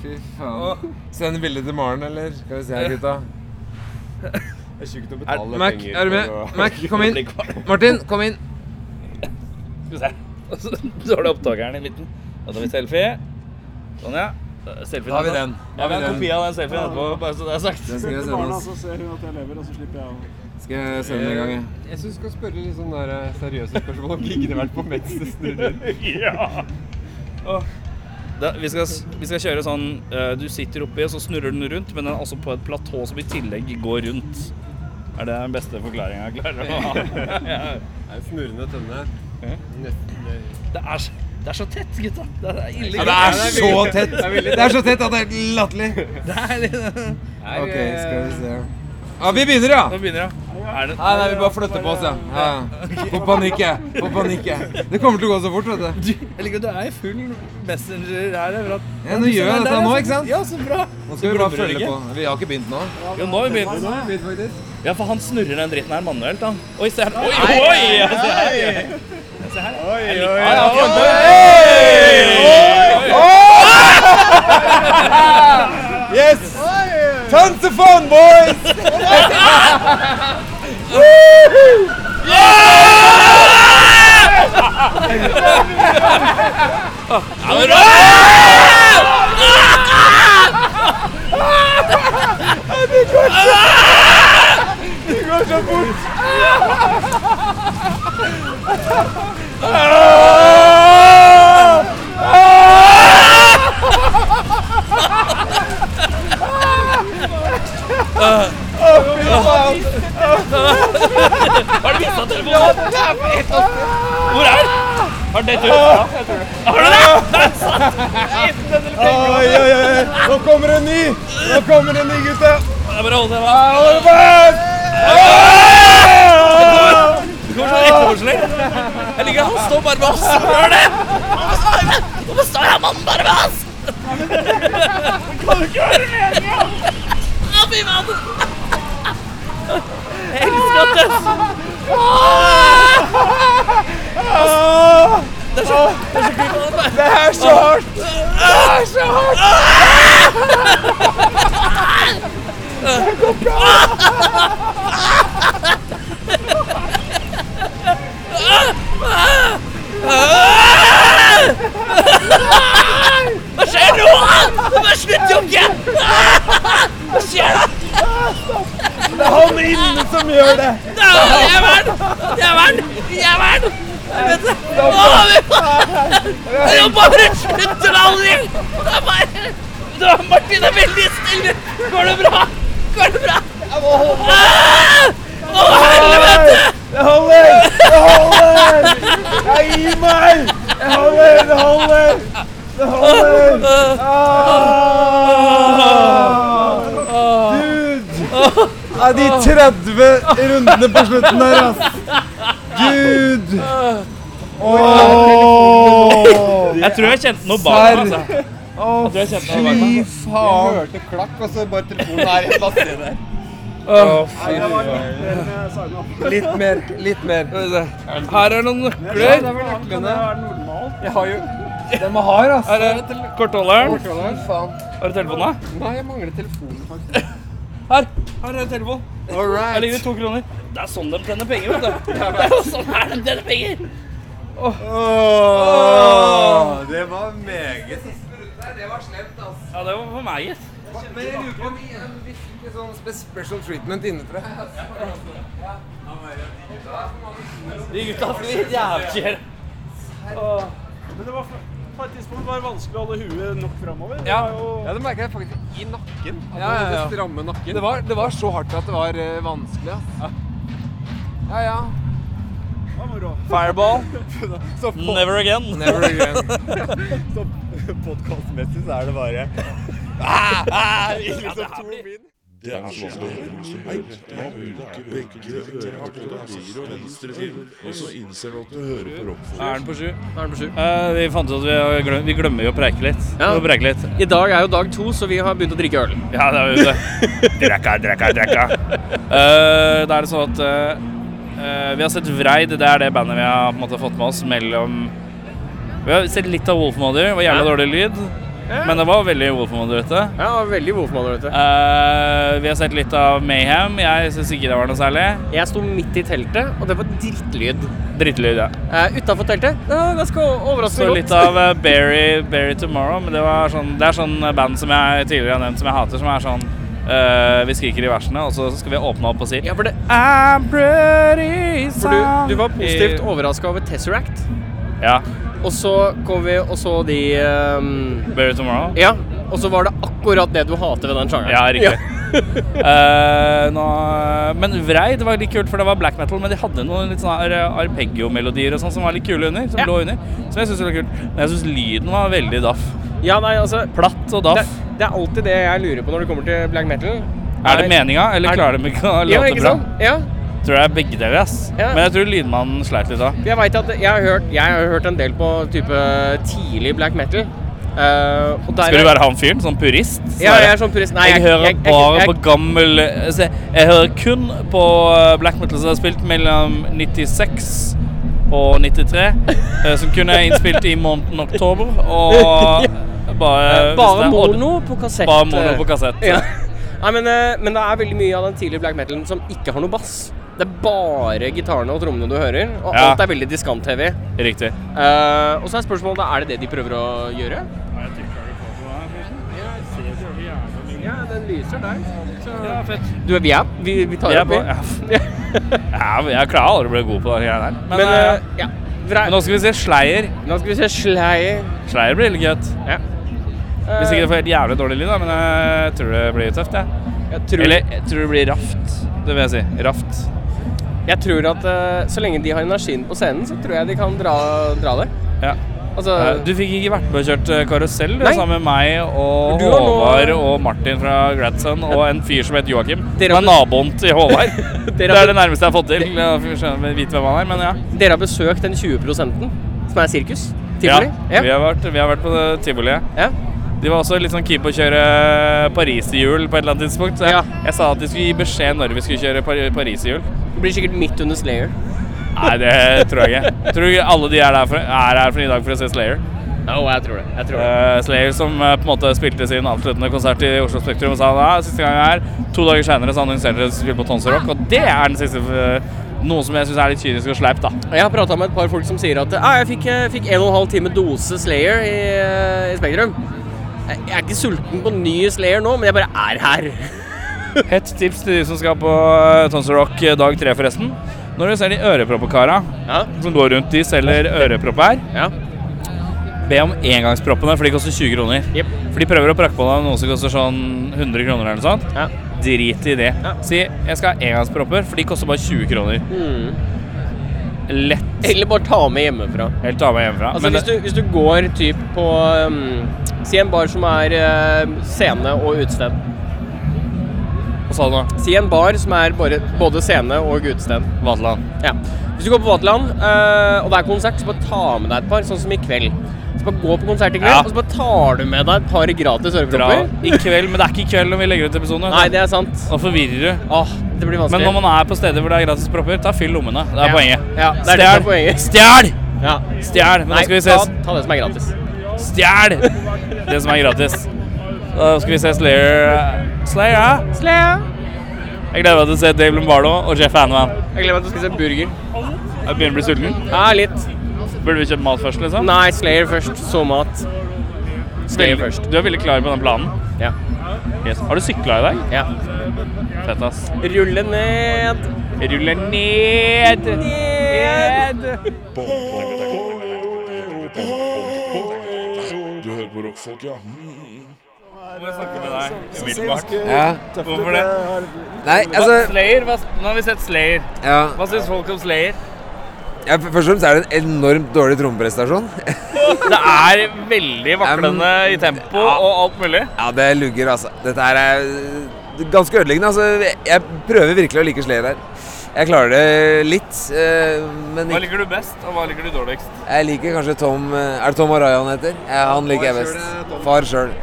Speaker 4: Fy faen. Send bilde til Maren, eller? Skal vi se her, gutta.
Speaker 5: Det er sjukt å
Speaker 4: Er,
Speaker 5: betale
Speaker 4: Mac,
Speaker 5: penger
Speaker 4: er du med?
Speaker 5: for å-
Speaker 4: Mac, kom inn. Martin, kom inn.
Speaker 3: Skal vi se. Og så- Så har du opptakeren i midten. Da tar vi selfie. Sånn, ja. Selfie.
Speaker 4: Da har vi den. Da
Speaker 3: Ja,
Speaker 4: har vi
Speaker 3: vi har en
Speaker 4: den.
Speaker 3: kopi av den selfien etterpå, bare så det er
Speaker 4: Den
Speaker 3: sagt.
Speaker 4: skal jeg
Speaker 6: Til
Speaker 4: sende
Speaker 6: barna
Speaker 4: oss.
Speaker 6: så ser hun at jeg lever, og så slipper jeg å
Speaker 4: Skal jeg sende den en gang, jeg.
Speaker 5: Eh, Jeg syns du skal spørre litt sånn der eh, seriøse spørsmål om ikke det har vært på mens det snurrer.
Speaker 3: Ja. Åh. Da, vi, skal, s- vi skal kjøre sånn eh, Du sitter oppi, og så snurrer den rundt, men den er altså på et platå som i tillegg går rundt. Er det den beste forklaringa jeg klarer å ha? Ja.
Speaker 5: Det er snurrende tønne.
Speaker 3: Det er, så- det er så tett, gutta. Det er ille.
Speaker 4: Ja, det er så tett. Det er så tett at det er helt latterlig. OK, skal vi eh, se. Ja, vi begynner, ja.
Speaker 3: Nå begynner det. Er det
Speaker 4: Nei, nei, vi bare flytter på oss, ja. ja. ja. Få panikk, jeg. Få panikk, jeg. Det kommer til å gå så fort, vet du.
Speaker 3: Jeg liker at du er i full messenger her. For at,
Speaker 4: Ja, nå gjør jeg dette nå, ikke sant?
Speaker 3: Ja, så bra.
Speaker 4: Nå skal vi bare følge på. Vi har ikke begynt nå.
Speaker 3: Jo, nå har vi begynt. Ja, for han snurrer den dritten her manuelt, han. Oi, se her. Oi, oi! ja, Se her. Ja, Se her. Oi, oi, oi.
Speaker 4: Yes! Tons of fun, boys!
Speaker 3: Har du mista telefonen? Hvor er den? Har den dette ut? Har du det?
Speaker 4: Oi, oi, oi. Nå kommer en ny! Nå kommer en ny, gutta!
Speaker 3: Jeg bare holder det. Hva?
Speaker 4: Hold fast!
Speaker 3: Det kommer sånn etterforskning. Jeg liker at han står bare med oss. Hør det! Hvorfor står jeg mannen bare med oss?
Speaker 4: Ja, de 30 rundene på slutten her, ass. Gud. Åh.
Speaker 3: Jeg tror jeg kjente noe bak meg. Altså.
Speaker 4: Åh,
Speaker 3: Jeg tror jeg kjente noe bak meg.
Speaker 4: fy faen.
Speaker 5: hørte klakk, og så bare telefonen her i plassen der.
Speaker 4: Åh, fy.
Speaker 6: Det
Speaker 4: Litt mer, litt mer.
Speaker 3: Her er noen nøkler.
Speaker 6: var nøklene. Det er normalt.
Speaker 4: Jeg har jo Den var hard, ass.
Speaker 3: Her er kortholderen.
Speaker 4: Fy faen.
Speaker 3: Har du telefonen? da?
Speaker 5: Nei, jeg mangler telefonen, faktisk.
Speaker 3: Her! Her er en telefon.
Speaker 4: All
Speaker 3: Her
Speaker 4: right.
Speaker 3: ligger det to kroner. Det er sånn de tjener penger, vet du. Det er jo sånn her de tjener penger.
Speaker 4: Åh.
Speaker 5: Det var meget.
Speaker 4: Det var slemt, altså. ass.
Speaker 3: Ja, det var for meg, gitt.
Speaker 4: Men jeg lurer på om vi fikk sånn special treatment innenfra.
Speaker 3: De gutta flyr jævlig.
Speaker 6: Men det var på et tidspunkt var det vanskelig å holde huet nok framover.
Speaker 4: Ja.
Speaker 5: Ja, det merket jeg faktisk i nakken. At
Speaker 4: Ja, ja,
Speaker 5: det
Speaker 4: ja.
Speaker 5: stramme nakken.
Speaker 4: Det var, det var så hardt at det var eh, vanskelig, ass. Ja, ja.
Speaker 6: Det var moro.
Speaker 4: Fireball.
Speaker 5: Så på,
Speaker 3: Never again.
Speaker 4: Never again.
Speaker 5: så podcastmessig så er det bare... liksom to min.
Speaker 1: Det er så slemt. Man bruker begge øreparter og sier og venstre til, og så innser du at du hører på rockfolk.
Speaker 3: Er den på sju?
Speaker 2: Da er den på sju.
Speaker 3: Eh, vi fant ut at vi, har glem, vi glemmer jo å preike litt.
Speaker 2: Ja.
Speaker 3: Vi må preike litt.
Speaker 2: I dag er jo dag to, så vi har begynt å drikke øl.
Speaker 3: Ja, det er jo det. Drekka, drekka, drekka. Eh, da er det sånn at eh, eh, vi har sett Vreid. Det er det bandet vi har på en måte, fått med oss mellom Vi har sett litt av Wolfmother. Det var jævla dårlig lyd, men det var veldig Wolfmother, dette.
Speaker 2: Ja, veldig Wolfmann, vet du.
Speaker 3: Eh, vi har sett litt av Mayhem. Jeg syns ikke det var noe særlig.
Speaker 2: Jeg sto midt i teltet, og det var drittlyd.
Speaker 3: Drittlyd, ja.
Speaker 2: Eh, Utafor teltet det var ganske
Speaker 3: Så
Speaker 2: overraskende
Speaker 3: litt av eh, Barry, Barry Tomorrow. Men det, var sånn, det er sånn band som jeg tidligere har nevnt som jeg hater, som er sånn eh, Vi skriker i versene, og så skal vi åpne opp og si
Speaker 2: Ja, for, det,
Speaker 3: I'm pretty
Speaker 2: for du, du var positivt
Speaker 3: over
Speaker 2: overraska over Tesseract,
Speaker 3: Ja.
Speaker 2: og så kom vi og så de ehm,
Speaker 3: Barry Tomorrow.
Speaker 2: Ja, og så var det akkurat det du hater ved den sjangeren.
Speaker 3: Ja, riktig. Eh, nå, men Vreid var litt kult, for det var black metal, men de hadde noen litt sånne ar- arpeggio-melodier og sånn som var litt kule under, som
Speaker 2: Ja.
Speaker 3: lå under. Så jeg synes det var kult. Men jeg synes lyden var veldig daff.
Speaker 2: Ja, ja nei, altså
Speaker 3: Platt og
Speaker 2: det,
Speaker 3: daff.
Speaker 2: det er alltid det jeg lurer på når det kommer til black metal.
Speaker 3: er det meninga, eller
Speaker 2: er-
Speaker 3: klarer de ikke å
Speaker 2: Ja,
Speaker 3: låte
Speaker 2: ikke
Speaker 3: bra?
Speaker 2: sant? Ja.
Speaker 3: Jeg tror det er begge deler, ass.
Speaker 2: Ja.
Speaker 3: Men jeg tror lydmannen sleit litt da.
Speaker 2: Jeg vet at jeg har, hørt, jeg har hørt en del på type tidlig black metal. eh, og der
Speaker 3: Skal du være han fyren? Sånn purist? som
Speaker 2: Ja,
Speaker 3: er-
Speaker 2: jeg er sånn purist. Nei,
Speaker 3: jeg, hører
Speaker 2: jeg- jeg-
Speaker 3: bare
Speaker 2: jeg-
Speaker 3: på gammel altså, Jeg hører kun på eh, black metal som er spilt mellom 96 og 93. eh, Som kun er innspilt i måneden oktober. Og bare
Speaker 2: Bare
Speaker 3: eh, hvis det er odd-
Speaker 2: mono på kassett. eh.
Speaker 3: Bare mono på kassett.
Speaker 2: Ja. Nei, men, eh, men det er veldig mye av den tidlige black metalen som ikke har noe bass. Det er bare gitarene og trommene du hører, og
Speaker 3: Ja.
Speaker 2: alt er veldig diskant-heavy.
Speaker 3: Riktig.
Speaker 2: Eh, og så er spørsmålet er det det de prøver å gjøre? Ja, den lyser der.
Speaker 3: Ja, fett.
Speaker 2: Du, vi er Vi, vi tar
Speaker 3: Vi er
Speaker 2: opp, vi.
Speaker 3: på- ja. Jeg, jeg klarer aldri å bli god på det her. Men,
Speaker 2: Men
Speaker 3: eh,
Speaker 2: eh, ja. Vrei.
Speaker 3: men nå skal vi se Sleier.
Speaker 2: Nå skal vi se Slayer.
Speaker 3: Sleier blir litt gøy.
Speaker 2: Ja. Eh,
Speaker 3: Hvis ikke det får helt jævlig dårlig lyd, da, men eh, jeg tror det blir tøft, jeg.
Speaker 2: jeg tror,
Speaker 3: Eller jeg tror det blir raft, det vil jeg si. Raft.
Speaker 2: jeg tror at eh, så lenge de har energien på scenen, så tror jeg de kan dra, dra det.
Speaker 3: Ja.
Speaker 2: Altså,
Speaker 3: Eh, Du fikk ikke vært med og kjørt eh, karusell du,
Speaker 2: Nei.
Speaker 3: sammen med meg og
Speaker 2: Du har nå-
Speaker 3: Håvard og Martin fra Gladson og en fyr som het Joakim.
Speaker 2: Dere har-
Speaker 3: Som er naboen til Håvard. Det
Speaker 2: har-
Speaker 3: er det nærmeste jeg har fått til. å skjønne- vite hvem han er, men ja.
Speaker 2: Dere har besøkt den 20 som er sirkus? Tivoli?
Speaker 3: Ja, Vi, har vært, vi har vært på det tivoliet.
Speaker 2: Ja.
Speaker 3: De var også litt sånn keen på å kjøre pariserhjul på et eller annet tidspunkt. Så jeg,
Speaker 2: Ja.
Speaker 3: jeg sa at de skulle gi beskjed når vi skulle kjøre par pariserhjul.
Speaker 2: Det blir sikkert midt under Slayer.
Speaker 3: Nei, det tror jeg ikke. Tror du ikke alle de er, der for, er her for i dag for å se Slayer?
Speaker 2: Jo, jeg tror det. Jeg tror det.
Speaker 3: Eh, Slayer som eh, på en måte spilte sin avsluttende konsert i Oslo Spektrum og sa ja, siste gang jeg er her. To dager senere så annonserte de at de skulle på Tonsor Rock, og det er den siste eh, Noe som jeg syns er litt kynisk og sleipt, da.
Speaker 2: Og Jeg har prata med et par folk som sier at ah, jeg fikk, jeg fikk en og en halv time dose Slayer i, eh, i Spektrum. Jeg jeg er ikke sulten på ny Slayer nå, men jeg bare er her.
Speaker 3: Hett tips til de som skal på eh, Tonsor Rock eh, dag tre, forresten. Når du ser de øreproppekara
Speaker 2: Ja.
Speaker 3: som går rundt, de selger ørepropp her.
Speaker 2: ja.
Speaker 3: Be om engangsproppene, for de koster 20 kroner.
Speaker 2: Jep.
Speaker 3: For de prøver å prakke på deg noe som koster sånn 100 kroner eller noe sånt.
Speaker 2: Ja.
Speaker 3: Drit i det.
Speaker 2: Ja.
Speaker 3: Si 'jeg skal ha engangspropper', for de koster bare 20 kroner. Lett.
Speaker 2: Eller bare ta med hjemmefra.
Speaker 3: Helt av meg hjemmefra.
Speaker 2: Altså,
Speaker 3: Men
Speaker 2: hvis,
Speaker 3: det-
Speaker 2: du, hvis du går typ på um, Si en bar som er eh, scene og utested.
Speaker 3: eh, Hva sa du nå?
Speaker 2: Si en bar som er bare, både scene og utested.
Speaker 3: Vaterland.
Speaker 2: Ja. Hvis du går på Vaterland, eh, og det er konsert, så bare ta med deg et par, sånn som i kveld. Så bare gå på konsert i kveld,
Speaker 3: Ja.
Speaker 2: og så bare tar du med deg et par gratis
Speaker 3: Dra
Speaker 2: ørepropper.
Speaker 3: i kveld, men det er ikke i kveld når vi legger ut episoden. vet du.
Speaker 2: Nei, det er sant.
Speaker 3: Da forvirrer du.
Speaker 2: Åh, det blir
Speaker 3: Men
Speaker 2: vanskelig.
Speaker 3: når man er på steder hvor det er gratis propper, ta fyll lommene. Det er
Speaker 2: Ja.
Speaker 3: poenget.
Speaker 2: Ja, det er det som er poenget.
Speaker 3: Stjel!
Speaker 2: ja.
Speaker 3: Stjel! Men
Speaker 2: Nei,
Speaker 3: da skal vi
Speaker 2: ta,
Speaker 3: ses.
Speaker 2: ta det som er gratis.
Speaker 3: Stjel! Det som er gratis. Da skal vi se Slayer. eh, Slayer, ja? Jeg gleder meg til å se Dave Lombardo og Jeff Hanneman.
Speaker 2: Jeg gleder meg til å spise burger.
Speaker 3: Jeg begynner å bli sulten.
Speaker 2: Ja, litt.
Speaker 3: Burde vi kjøpe mat først, liksom?
Speaker 2: Nei, Slayer først, så mat. Slayer først.
Speaker 3: Du er veldig klar på den planen.
Speaker 2: Ja.
Speaker 3: Yes. Har du sykla i dag?
Speaker 2: ja.
Speaker 3: Fett, ass.
Speaker 2: Rulle ned.
Speaker 3: Ruller ned!
Speaker 2: Ned.
Speaker 1: Du hører på rockfolk, ja. Mm.
Speaker 4: Ja.
Speaker 3: Hvorfor det?
Speaker 4: Nei, altså
Speaker 3: Slayer? Hva, nå har vi sett Slayer.
Speaker 4: ja.
Speaker 3: Hva syns folk om Slayer?
Speaker 4: ja, Først og fremst er det en enormt dårlig trommeprestasjon.
Speaker 3: Det er veldig vaklende i tempo og alt mulig.
Speaker 4: Ja, det lugger, altså. Dette her er øh, ganske ødeleggende. Altså, jeg prøver virkelig å like Slayer her. Jeg klarer det litt, øh, men
Speaker 3: Hva
Speaker 4: ikke.
Speaker 3: liker du best, og hva liker du dårligst?
Speaker 4: jeg liker kanskje Tom øh, Er det Tom Araya han heter? Ja, han liker jeg best. Far sjøl.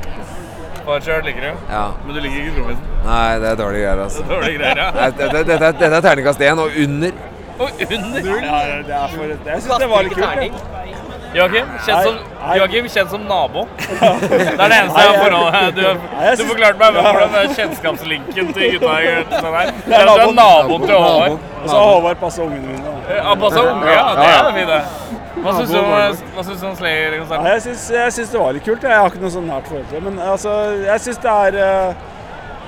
Speaker 3: Far sjøl liker du,
Speaker 4: Ja.
Speaker 3: men du liker ikke trommisen.
Speaker 4: Nei, det er dårlige greier, altså.
Speaker 3: Dårlige greier, ja.
Speaker 4: Nei, Dette, dette, er- dette er terningkast én og under.
Speaker 3: Og under.
Speaker 5: det er for det, Jeg syns det var litt kult. jeg.
Speaker 3: Joakim, kjent som,
Speaker 5: Nei, nei.
Speaker 3: Joakim, kjent som nabo. Det er det eneste jeg har forhold du,
Speaker 5: Nei, jeg
Speaker 3: du
Speaker 5: synes-
Speaker 3: forklarte meg hvordan det er kjennskapslinken til gutta i Grønland her. Det
Speaker 5: er
Speaker 3: er
Speaker 5: naboen.
Speaker 3: naboen til Håvard.
Speaker 5: Og så har Håvard passa ungene mine. da.
Speaker 3: Ja, Passe unge, ja. Det er fint, det. Hva syns du om,
Speaker 5: Naboen.
Speaker 3: hva syns du om Slayer-konserten?
Speaker 5: Nei, jeg syns, jeg syns det var litt kult. Jeg har ikke noe sånn nært forhold til det. Men altså, jeg syns det er eh,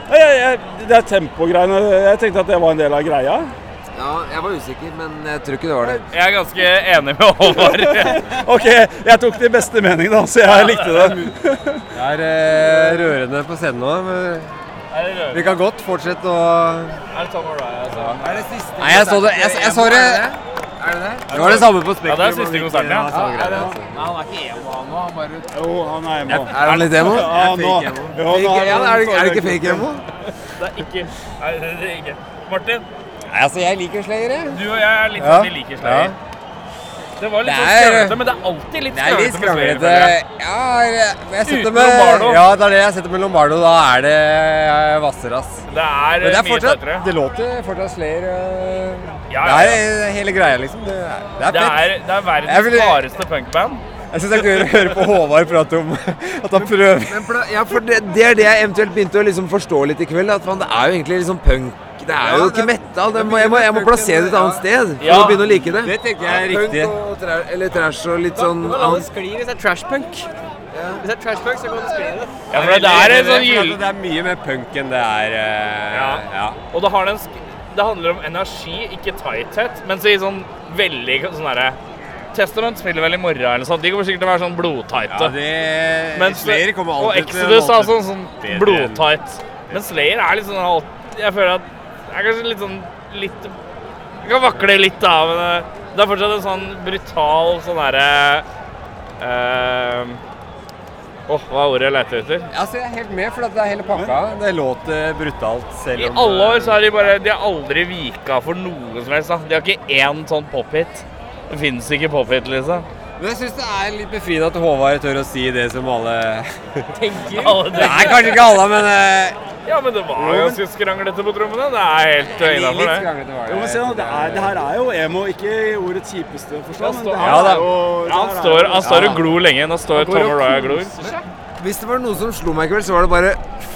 Speaker 5: ja, jeg, jeg, Det er tempogreiene. Jeg tenkte at det var en del av greia.
Speaker 4: Ja, jeg var usikker, men jeg tror ikke det var det.
Speaker 3: Jeg er ganske enig med Håvard.
Speaker 5: OK, jeg tok det i beste mening, da, så jeg likte det.
Speaker 7: Det er eh, rørende på scenen nå, men
Speaker 3: Er det
Speaker 7: vi kan godt fortsette å
Speaker 3: Tom Araya, altså?
Speaker 4: Nei, jeg så det. Jeg, jeg så det. Det var det samme på
Speaker 3: Ja,
Speaker 4: Spektrum.
Speaker 3: det er siste konserten, ja.
Speaker 5: Jo, han er emo.
Speaker 4: Er han litt emo?
Speaker 5: Ja, nå, jo, nå
Speaker 4: Fake, ja, er, det, er det ikke fake emo?
Speaker 3: Det er ikke Nei, det er det ikke. Martin,
Speaker 4: Nei, altså, jeg liker Slayer, jeg.
Speaker 3: du og jeg er litt
Speaker 4: Ja.
Speaker 3: sånn vi liker Slayer. Det var litt
Speaker 4: Det
Speaker 3: sånn
Speaker 4: er-
Speaker 3: skrønete, men det er alltid litt
Speaker 4: Det er litt
Speaker 3: skrønete med Slayer.
Speaker 4: skranglete.
Speaker 3: føler jeg.
Speaker 4: eh, Ja, jeg setter
Speaker 3: Uten
Speaker 4: med
Speaker 3: Lombardo.
Speaker 4: Ja, det er det jeg setter med Lombardo. Da er det eh, Hvasser, ass.
Speaker 3: Det er,
Speaker 4: Men
Speaker 3: eh,
Speaker 4: det er
Speaker 3: mye
Speaker 4: fortsatt
Speaker 3: tettere.
Speaker 4: Det låter fortsatt Slayer eh,
Speaker 3: Ja,
Speaker 4: Det
Speaker 3: ja, ja.
Speaker 4: er eh, hele greia, liksom. Det er, det er
Speaker 3: Det
Speaker 4: fett.
Speaker 3: er, det er
Speaker 4: Jeg
Speaker 3: verdens
Speaker 4: vil-
Speaker 3: hardeste punkband.
Speaker 4: Jeg syns det er gøy å høre på Håvard prate om at han prøver Ja, for det, det er det jeg eventuelt begynte å liksom forstå litt i kveld. At man, det er jo egentlig liksom punk. Det er jo ikke metal. Det må, jeg, må, jeg må plassere det et annet sted for
Speaker 3: Ja.
Speaker 4: å begynne å like det.
Speaker 7: Det tenker jeg er riktig.
Speaker 4: Punk og tra- eller trash og litt sånn
Speaker 2: La det
Speaker 4: annet.
Speaker 2: skli hvis det er trashpunk. Hvis det er trashpunk, så kan det skli det.
Speaker 3: Ja, for det er en sånn
Speaker 7: Jeg
Speaker 3: gyll...
Speaker 7: tror at Det er mye mer punk enn det er
Speaker 4: øh,
Speaker 7: eh,
Speaker 3: Ja.
Speaker 7: ja.
Speaker 3: Og det har den sk... Det handler om energi, ikke tighthet, men så i sånn veldig sånn derre Testament spiller vel i morgen eller noe sånt. De kommer sikkert til å være sånn blodtighte.
Speaker 7: ja det,
Speaker 3: Men
Speaker 7: Eh, Slayer
Speaker 3: Sl-
Speaker 7: kommer
Speaker 3: Og
Speaker 7: alltid til å
Speaker 3: Exodus er
Speaker 7: låte-
Speaker 3: sånn, sånn
Speaker 7: bedre enn-
Speaker 3: blodtight. Men Slayer er litt sånn alt Jeg føler at Det er kanskje litt sånn litt Jeg kan vakle litt, da, men eh, det er fortsatt en sånn brutal sånn derre eh, Åh, hva er ordet jeg leter etter?
Speaker 7: Altså, jeg er helt med, for at det er hele pakka. Det låter brutalt, selv
Speaker 3: I
Speaker 7: om eh,
Speaker 3: alle
Speaker 4: eh,
Speaker 3: år så har de bare De har aldri vika for noe som helst. da. De har ikke én sånn pop-hit. Det fins ikke pop-hit, liksom.
Speaker 7: Men jeg syns det er litt befriende at Håvard tør å si det som alle
Speaker 2: Tenker
Speaker 7: Nei, kanskje ikke alle, men eh,
Speaker 8: Ja, men det var jo ganske skranglete på trommene. Det er helt eh,
Speaker 7: litt
Speaker 8: innafor, det.
Speaker 7: skranglete var
Speaker 5: Jo, men se
Speaker 7: det.
Speaker 5: nå, det, er, det her er jo emo, ikke i ordets kjipeste forstand. men det her
Speaker 7: Ja, da.
Speaker 5: er jo-
Speaker 8: Han
Speaker 5: det her er
Speaker 8: står,
Speaker 5: jo-
Speaker 8: han står og glor lenge. Nå står Tom og Raya og glor.
Speaker 7: Hvis det var
Speaker 4: Noe som slo meg i kveld, så var det bare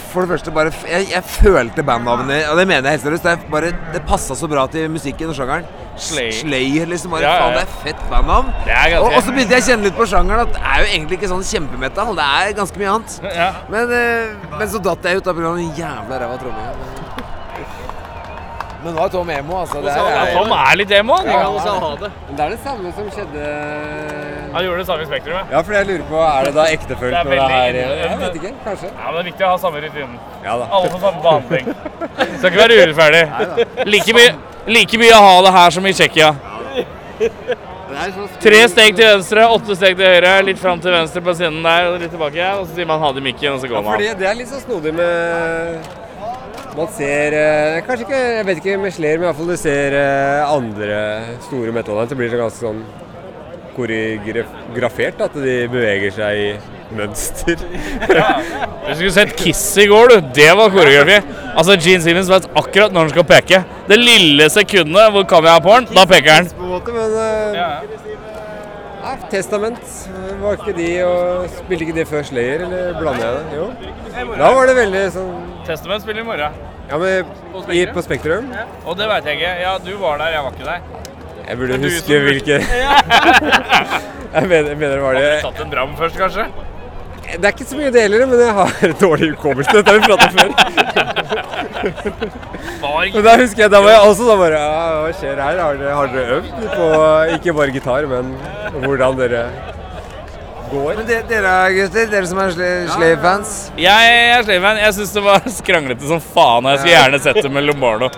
Speaker 4: For det første bare f- Jeg, jeg følte bandnavnet, og det mener jeg helt seriøst. Det, er bare- det passa så bra til musikken og sjangeren.
Speaker 8: Slay.
Speaker 4: Slayer, liksom. Bare,
Speaker 8: Ja, ja,
Speaker 4: Faen,
Speaker 8: ja.
Speaker 4: det er fett bandnavn.
Speaker 8: Det er
Speaker 4: Og, og så
Speaker 8: ganske
Speaker 4: begynte jeg å kjenne litt på sjangeren at det er jo egentlig ikke sånn kjempemetall. Det er ganske mye annet.
Speaker 8: ja.
Speaker 4: Men, eh, men så datt jeg ut da pga. den jævla ræva tromminga. Men nå er Tom emo, altså. Det
Speaker 8: ja,
Speaker 4: er,
Speaker 8: Tom er litt emo.
Speaker 2: Jeg kan
Speaker 8: Han
Speaker 2: også ha det.
Speaker 7: Men det er det samme som skjedde
Speaker 8: Han gjorde det samme i Spektrum. ja.
Speaker 7: Ja, for jeg lurer på, er det da ektefølt
Speaker 8: Det
Speaker 7: når
Speaker 8: er
Speaker 7: det
Speaker 8: veldig
Speaker 7: er
Speaker 8: innebærende.
Speaker 7: Jeg vet ikke, kanskje.
Speaker 8: Ja, men Det er viktig å ha samme rutinen.
Speaker 7: Ja da.
Speaker 8: Alle får samme behandling. Skal ikke være urettferdig. Like mye, like mye å ha det her som i Tsjekkia. Tre steg til venstre, åtte steg til høyre, litt fram til venstre på scenen der, og litt tilbake. Og så sier man ha det i mikken, og så går man.
Speaker 7: Fordi det er litt så snodig med Man ser eh, Kanskje ikke Jeg vet ikke med Slayer, men iallfall du ser eh, andre store metalband, så blir det ganske sånn koreografert at de beveger seg i mønster.
Speaker 8: Du skulle sett Kiss i går, du. Det var koreografi. Altså, Gene Simmons vet akkurat når han skal peke. Det lille sekundet hvor kameraet er på han, da peker han.
Speaker 7: på en måte, men eh, Nei, Testament, var ikke de og Spilte ikke de før Slayer, eller blander jeg det? Jo. Da var det veldig sånn
Speaker 8: Testament spiller i morgen.
Speaker 7: Ja, men i, på Spektrum
Speaker 8: Og det veit jeg ikke. Ja, du var der, jeg var ikke der.
Speaker 7: Jeg burde huske hvilke Jeg mener, jeg mener det var det
Speaker 8: Tatt en dram først, kanskje?
Speaker 7: Det er ikke så mye deler, men jeg har dårlig hukommelse. Dette har vi pratet om før.
Speaker 8: Var
Speaker 7: Men da husker jeg, da var jeg også sånn bare ja, Hva skjer her? Har dere, har dere øvd på ikke bare gitar, men hvordan dere går?
Speaker 4: men de, dere gutter, dere som er Slave-fans
Speaker 8: Jeg, jeg slenger meg. Jeg syns det var skranglete som faen. og Jeg skulle gjerne sett det med Lombardo.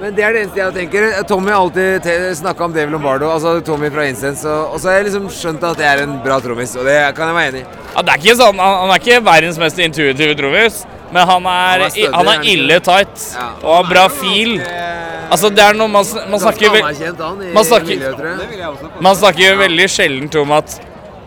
Speaker 4: Men det er det eneste jeg tenker. Tommy har alltid te- snakket om Dave Lombardo, altså Tommy fra Incense, og, og så har jeg liksom skjønt at jeg er en bra trommis, og det kan jeg være enig i.
Speaker 8: Ja, det er ikke sånn, han, han er ikke verdens mest intuitive trommis, men han er,
Speaker 4: Han er stødig,
Speaker 8: i- han
Speaker 4: er han
Speaker 8: er
Speaker 4: ikke?
Speaker 8: ille tight
Speaker 4: Ja.
Speaker 8: og har bra fil. Altså, det er noe man, sn- man
Speaker 4: Ganske
Speaker 8: snakker vel-
Speaker 4: anerkjent, han, i
Speaker 8: man snakker-
Speaker 4: miljøet, tror jeg.
Speaker 8: Man snakker jo veldig sjeldent om at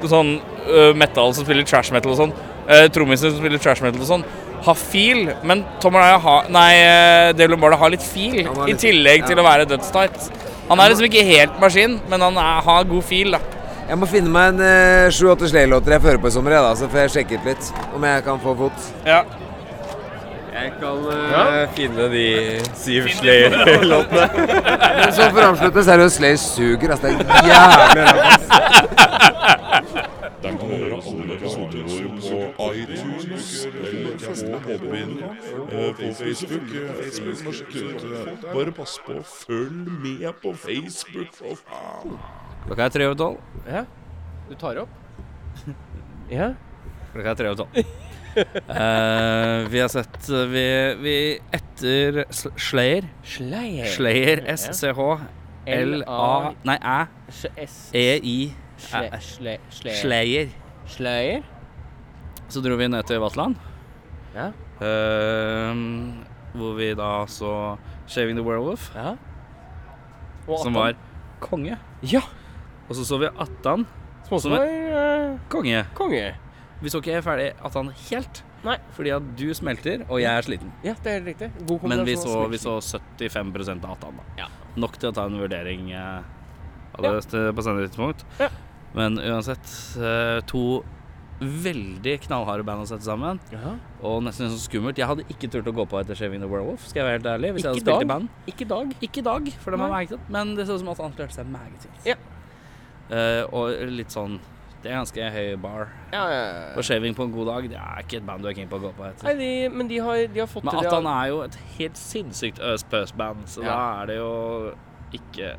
Speaker 8: sånn øh, metal som spiller trash metal og sånn, uh, trommiser som spiller trash metal og sånn, har feel, men Tom Araya har Nei, øh, Dave Lombardo har litt feel,
Speaker 4: Han har
Speaker 8: i
Speaker 4: litt-
Speaker 8: tillegg til
Speaker 4: ja.
Speaker 8: å være dødstight. Han er liksom ikke helt maskin, men han er, har god feel, da.
Speaker 4: Jeg må finne meg en eh, sju-åtte Slay-låter jeg fører på i sommer, jeg, da, så får jeg sjekke ut litt om jeg kan få fot.
Speaker 8: Ja.
Speaker 7: Jeg kan finne de syv Slayer-låtene.
Speaker 4: Men så for å avslutte, seriøst, Slay suger, altså. Det er jævlig ræva.
Speaker 1: Der kan du høre alle episodene våre på iTunes eller på Podbean, eh, på Facebook. eh, Facebook må sjekke ut det. Bare pass på, følg med på Facebook, for faen!
Speaker 3: Klokka er tre over tolv.
Speaker 2: Du tar opp? Ja.
Speaker 3: Klokka er tre over tolv. Eh, vi har sett eh, vi, vi etter Sl- Slayer
Speaker 2: Slayer.
Speaker 3: Slayer S-C-H-L-A Nei, æ. E-I. Æ-
Speaker 2: Slayer.
Speaker 3: Slayer.
Speaker 2: Slayer.
Speaker 3: Så dro vi ned til Vatland.
Speaker 2: Ja.
Speaker 3: Eh, hvor vi da så Shaving the Werewolf,
Speaker 2: Ja.
Speaker 3: som var konge.
Speaker 2: Ja.
Speaker 3: Og så så vi Attan,
Speaker 2: Som
Speaker 3: som
Speaker 2: var
Speaker 3: er
Speaker 2: eh,
Speaker 3: konge.
Speaker 2: konge.
Speaker 3: Vi så ikke ferdig Attan helt,
Speaker 2: Nei.
Speaker 3: fordi at du smelter, og jeg er sliten.
Speaker 2: Ja, det er helt riktig. God kombinasjon.
Speaker 3: Men vi så,
Speaker 2: av
Speaker 3: vi
Speaker 2: smitt.
Speaker 3: så 75 av Attan, da.
Speaker 2: Ja.
Speaker 3: Nok til å ta en vurdering eh, av
Speaker 2: Ja.
Speaker 3: det til- på senere tidspunkt.
Speaker 2: Ja.
Speaker 3: Men uansett, eh, to veldig knallharde band å sette sammen.
Speaker 2: Jaha.
Speaker 3: Og nesten litt sånn skummelt. Jeg hadde ikke turt å gå på etter Shaving the Werewolf, skal jeg være helt ærlig. Hvis jeg
Speaker 2: Ikke
Speaker 3: hadde spilt
Speaker 2: i
Speaker 3: i band.
Speaker 2: Ikke dag.
Speaker 3: Ikke i dag, for det var
Speaker 2: Nei.
Speaker 3: meget godt, men det så ut som at han klarte seg meget fint.
Speaker 2: Ja.
Speaker 3: Eh, og litt sånn Det er ganske høy bar.
Speaker 2: Ja, ja, ja.
Speaker 3: Og shaving på en god dag, det er ikke et band du er keen på å gå på
Speaker 2: Nei,
Speaker 3: etter.
Speaker 2: de, men de har, de har fått
Speaker 3: Men
Speaker 2: til det.
Speaker 3: Attan er jo et helt sinnssykt øs-pøs-band, så da er det jo ikke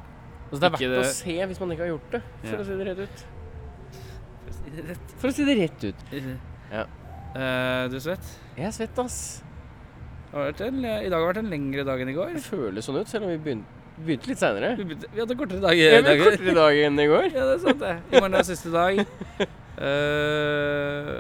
Speaker 2: altså, det er
Speaker 3: ikke
Speaker 2: verdt å
Speaker 3: det-
Speaker 2: se hvis man ikke har gjort det, for
Speaker 3: Ja.
Speaker 2: å si det rett ut. For å si det rett ut.
Speaker 3: Eh, Du svett?
Speaker 2: Jeg er svett, ass.
Speaker 3: Det har vært en, I dag har vært en lengre dag enn i går.
Speaker 2: Det føles sånn ut, selv om vi begynte, begynte litt seinere.
Speaker 3: Vi begynte- vi hadde kortere dag i
Speaker 2: Det ble
Speaker 3: dag.
Speaker 2: kortere dag enn i går.
Speaker 3: Ja, det er sant, det. I morgen er siste dag. Eh,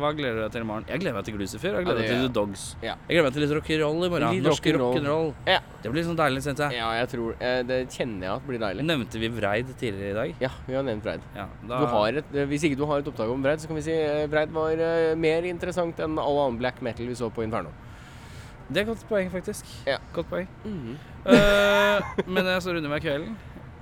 Speaker 3: hva gleder du deg til i morgen? Jeg gleder meg til Glucifer. Jeg
Speaker 2: Ja, det
Speaker 3: gleder meg til
Speaker 2: gjør
Speaker 3: The Dogs.
Speaker 2: Ja.
Speaker 3: Jeg gleder meg til litt rock'n'roll i morgen.
Speaker 2: Litt
Speaker 3: Norsk
Speaker 2: rock'n'roll.
Speaker 3: rock'n'roll.
Speaker 2: Ja.
Speaker 3: Det blir sånn deilig, syns jeg.
Speaker 2: Ja, jeg tror eh, Det kjenner jeg at blir deilig.
Speaker 3: Nevnte vi Vreid tidligere i dag?
Speaker 2: Ja, vi har nevnt Breid.
Speaker 3: Ja, da-
Speaker 2: Du har et, eh, hvis ikke du har et opptak om Breid, så kan vi si eh, Breid var eh, mer interessant enn all annen black metal vi så på Inferno.
Speaker 3: Det er et godt poeng, faktisk.
Speaker 2: Ja.
Speaker 3: Godt poeng. Eh, men jeg så runder meg kvelden.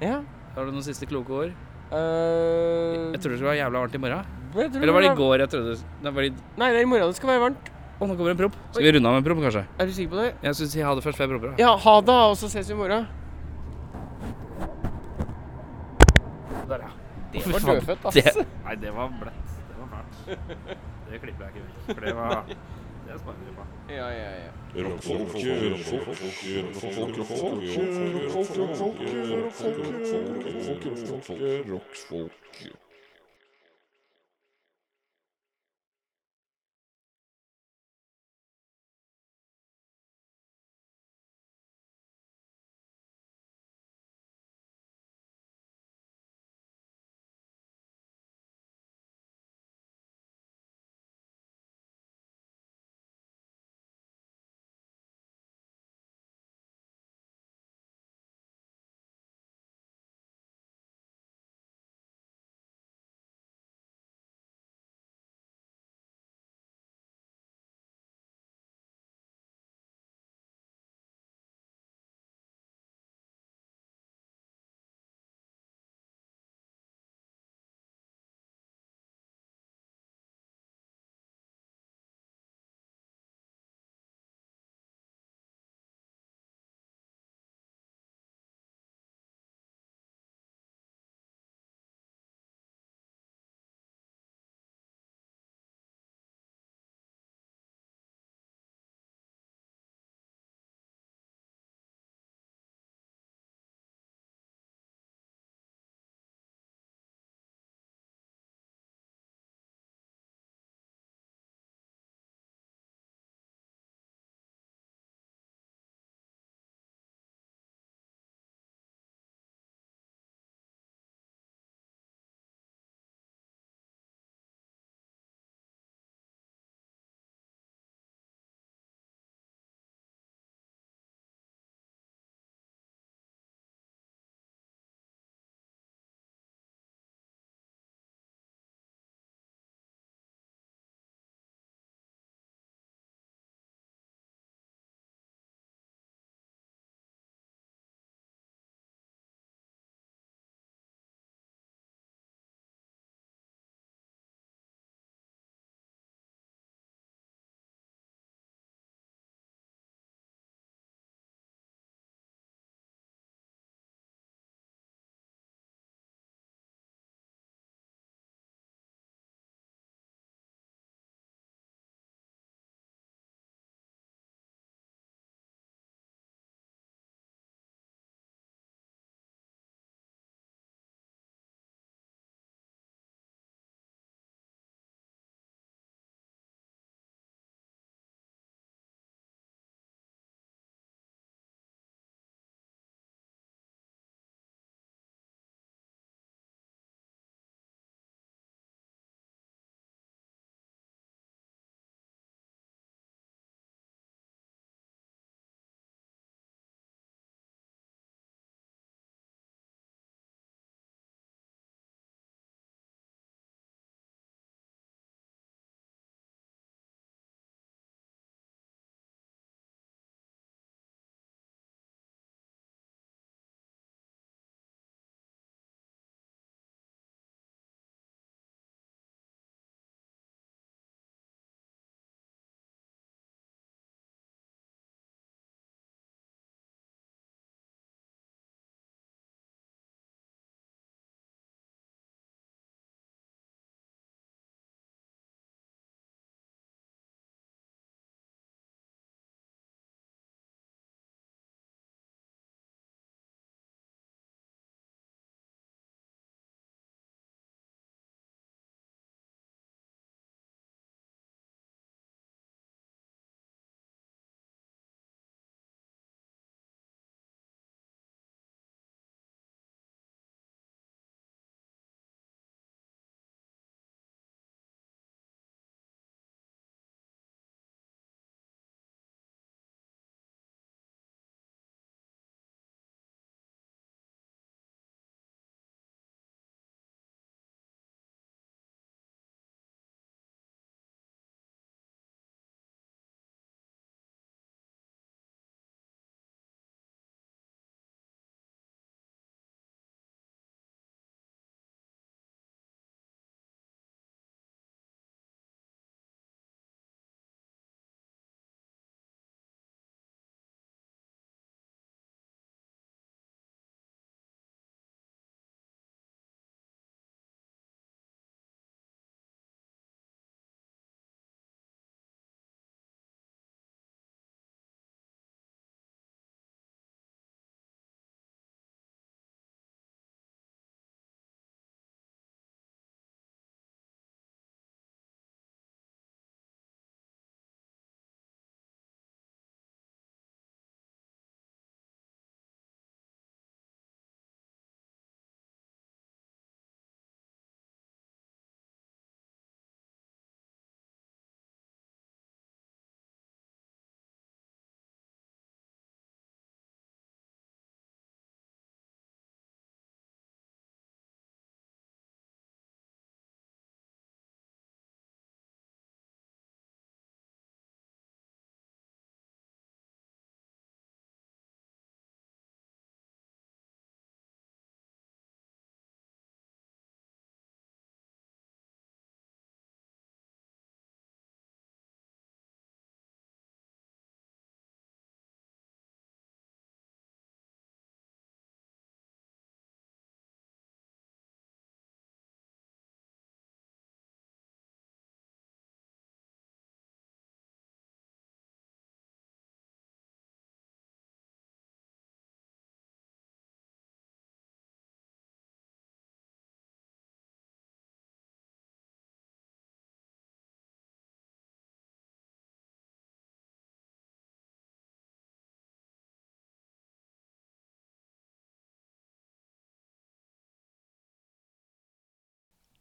Speaker 2: Ja.
Speaker 3: Har du noen siste kloke ord?
Speaker 2: eh,
Speaker 3: Jeg tror det skal være jævla varmt i morgen.
Speaker 2: jeg tror
Speaker 3: Eller var det i
Speaker 2: var-
Speaker 3: går jeg trodde Nei, var det i
Speaker 2: Nei, det er i morgen det skal være varmt.
Speaker 3: Å, nå kommer en promp. Skal vi runde av med en promp, kanskje?
Speaker 2: Er du sikker på det?
Speaker 3: Jeg syns jeg hadde først fem promper.
Speaker 2: Ja, ha det, og så ses vi i morgen. Der, ja. Det var dødfødt, ass.
Speaker 3: Det, nei, det var blett. Det var fælt. Det klipper jeg ikke ut. For det var Det sparer vi på.
Speaker 2: Ja, ja, ja.
Speaker 1: Rockfolk, rockfolk, rockfolk, rockfolk, rockfolk, rockfolk, rockfolk, rockfolk, rockfolk, rockfolk.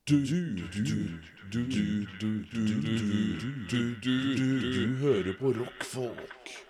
Speaker 1: Du, du, du, du, du, du, du, du, du, du, du, du hører på rockfolk.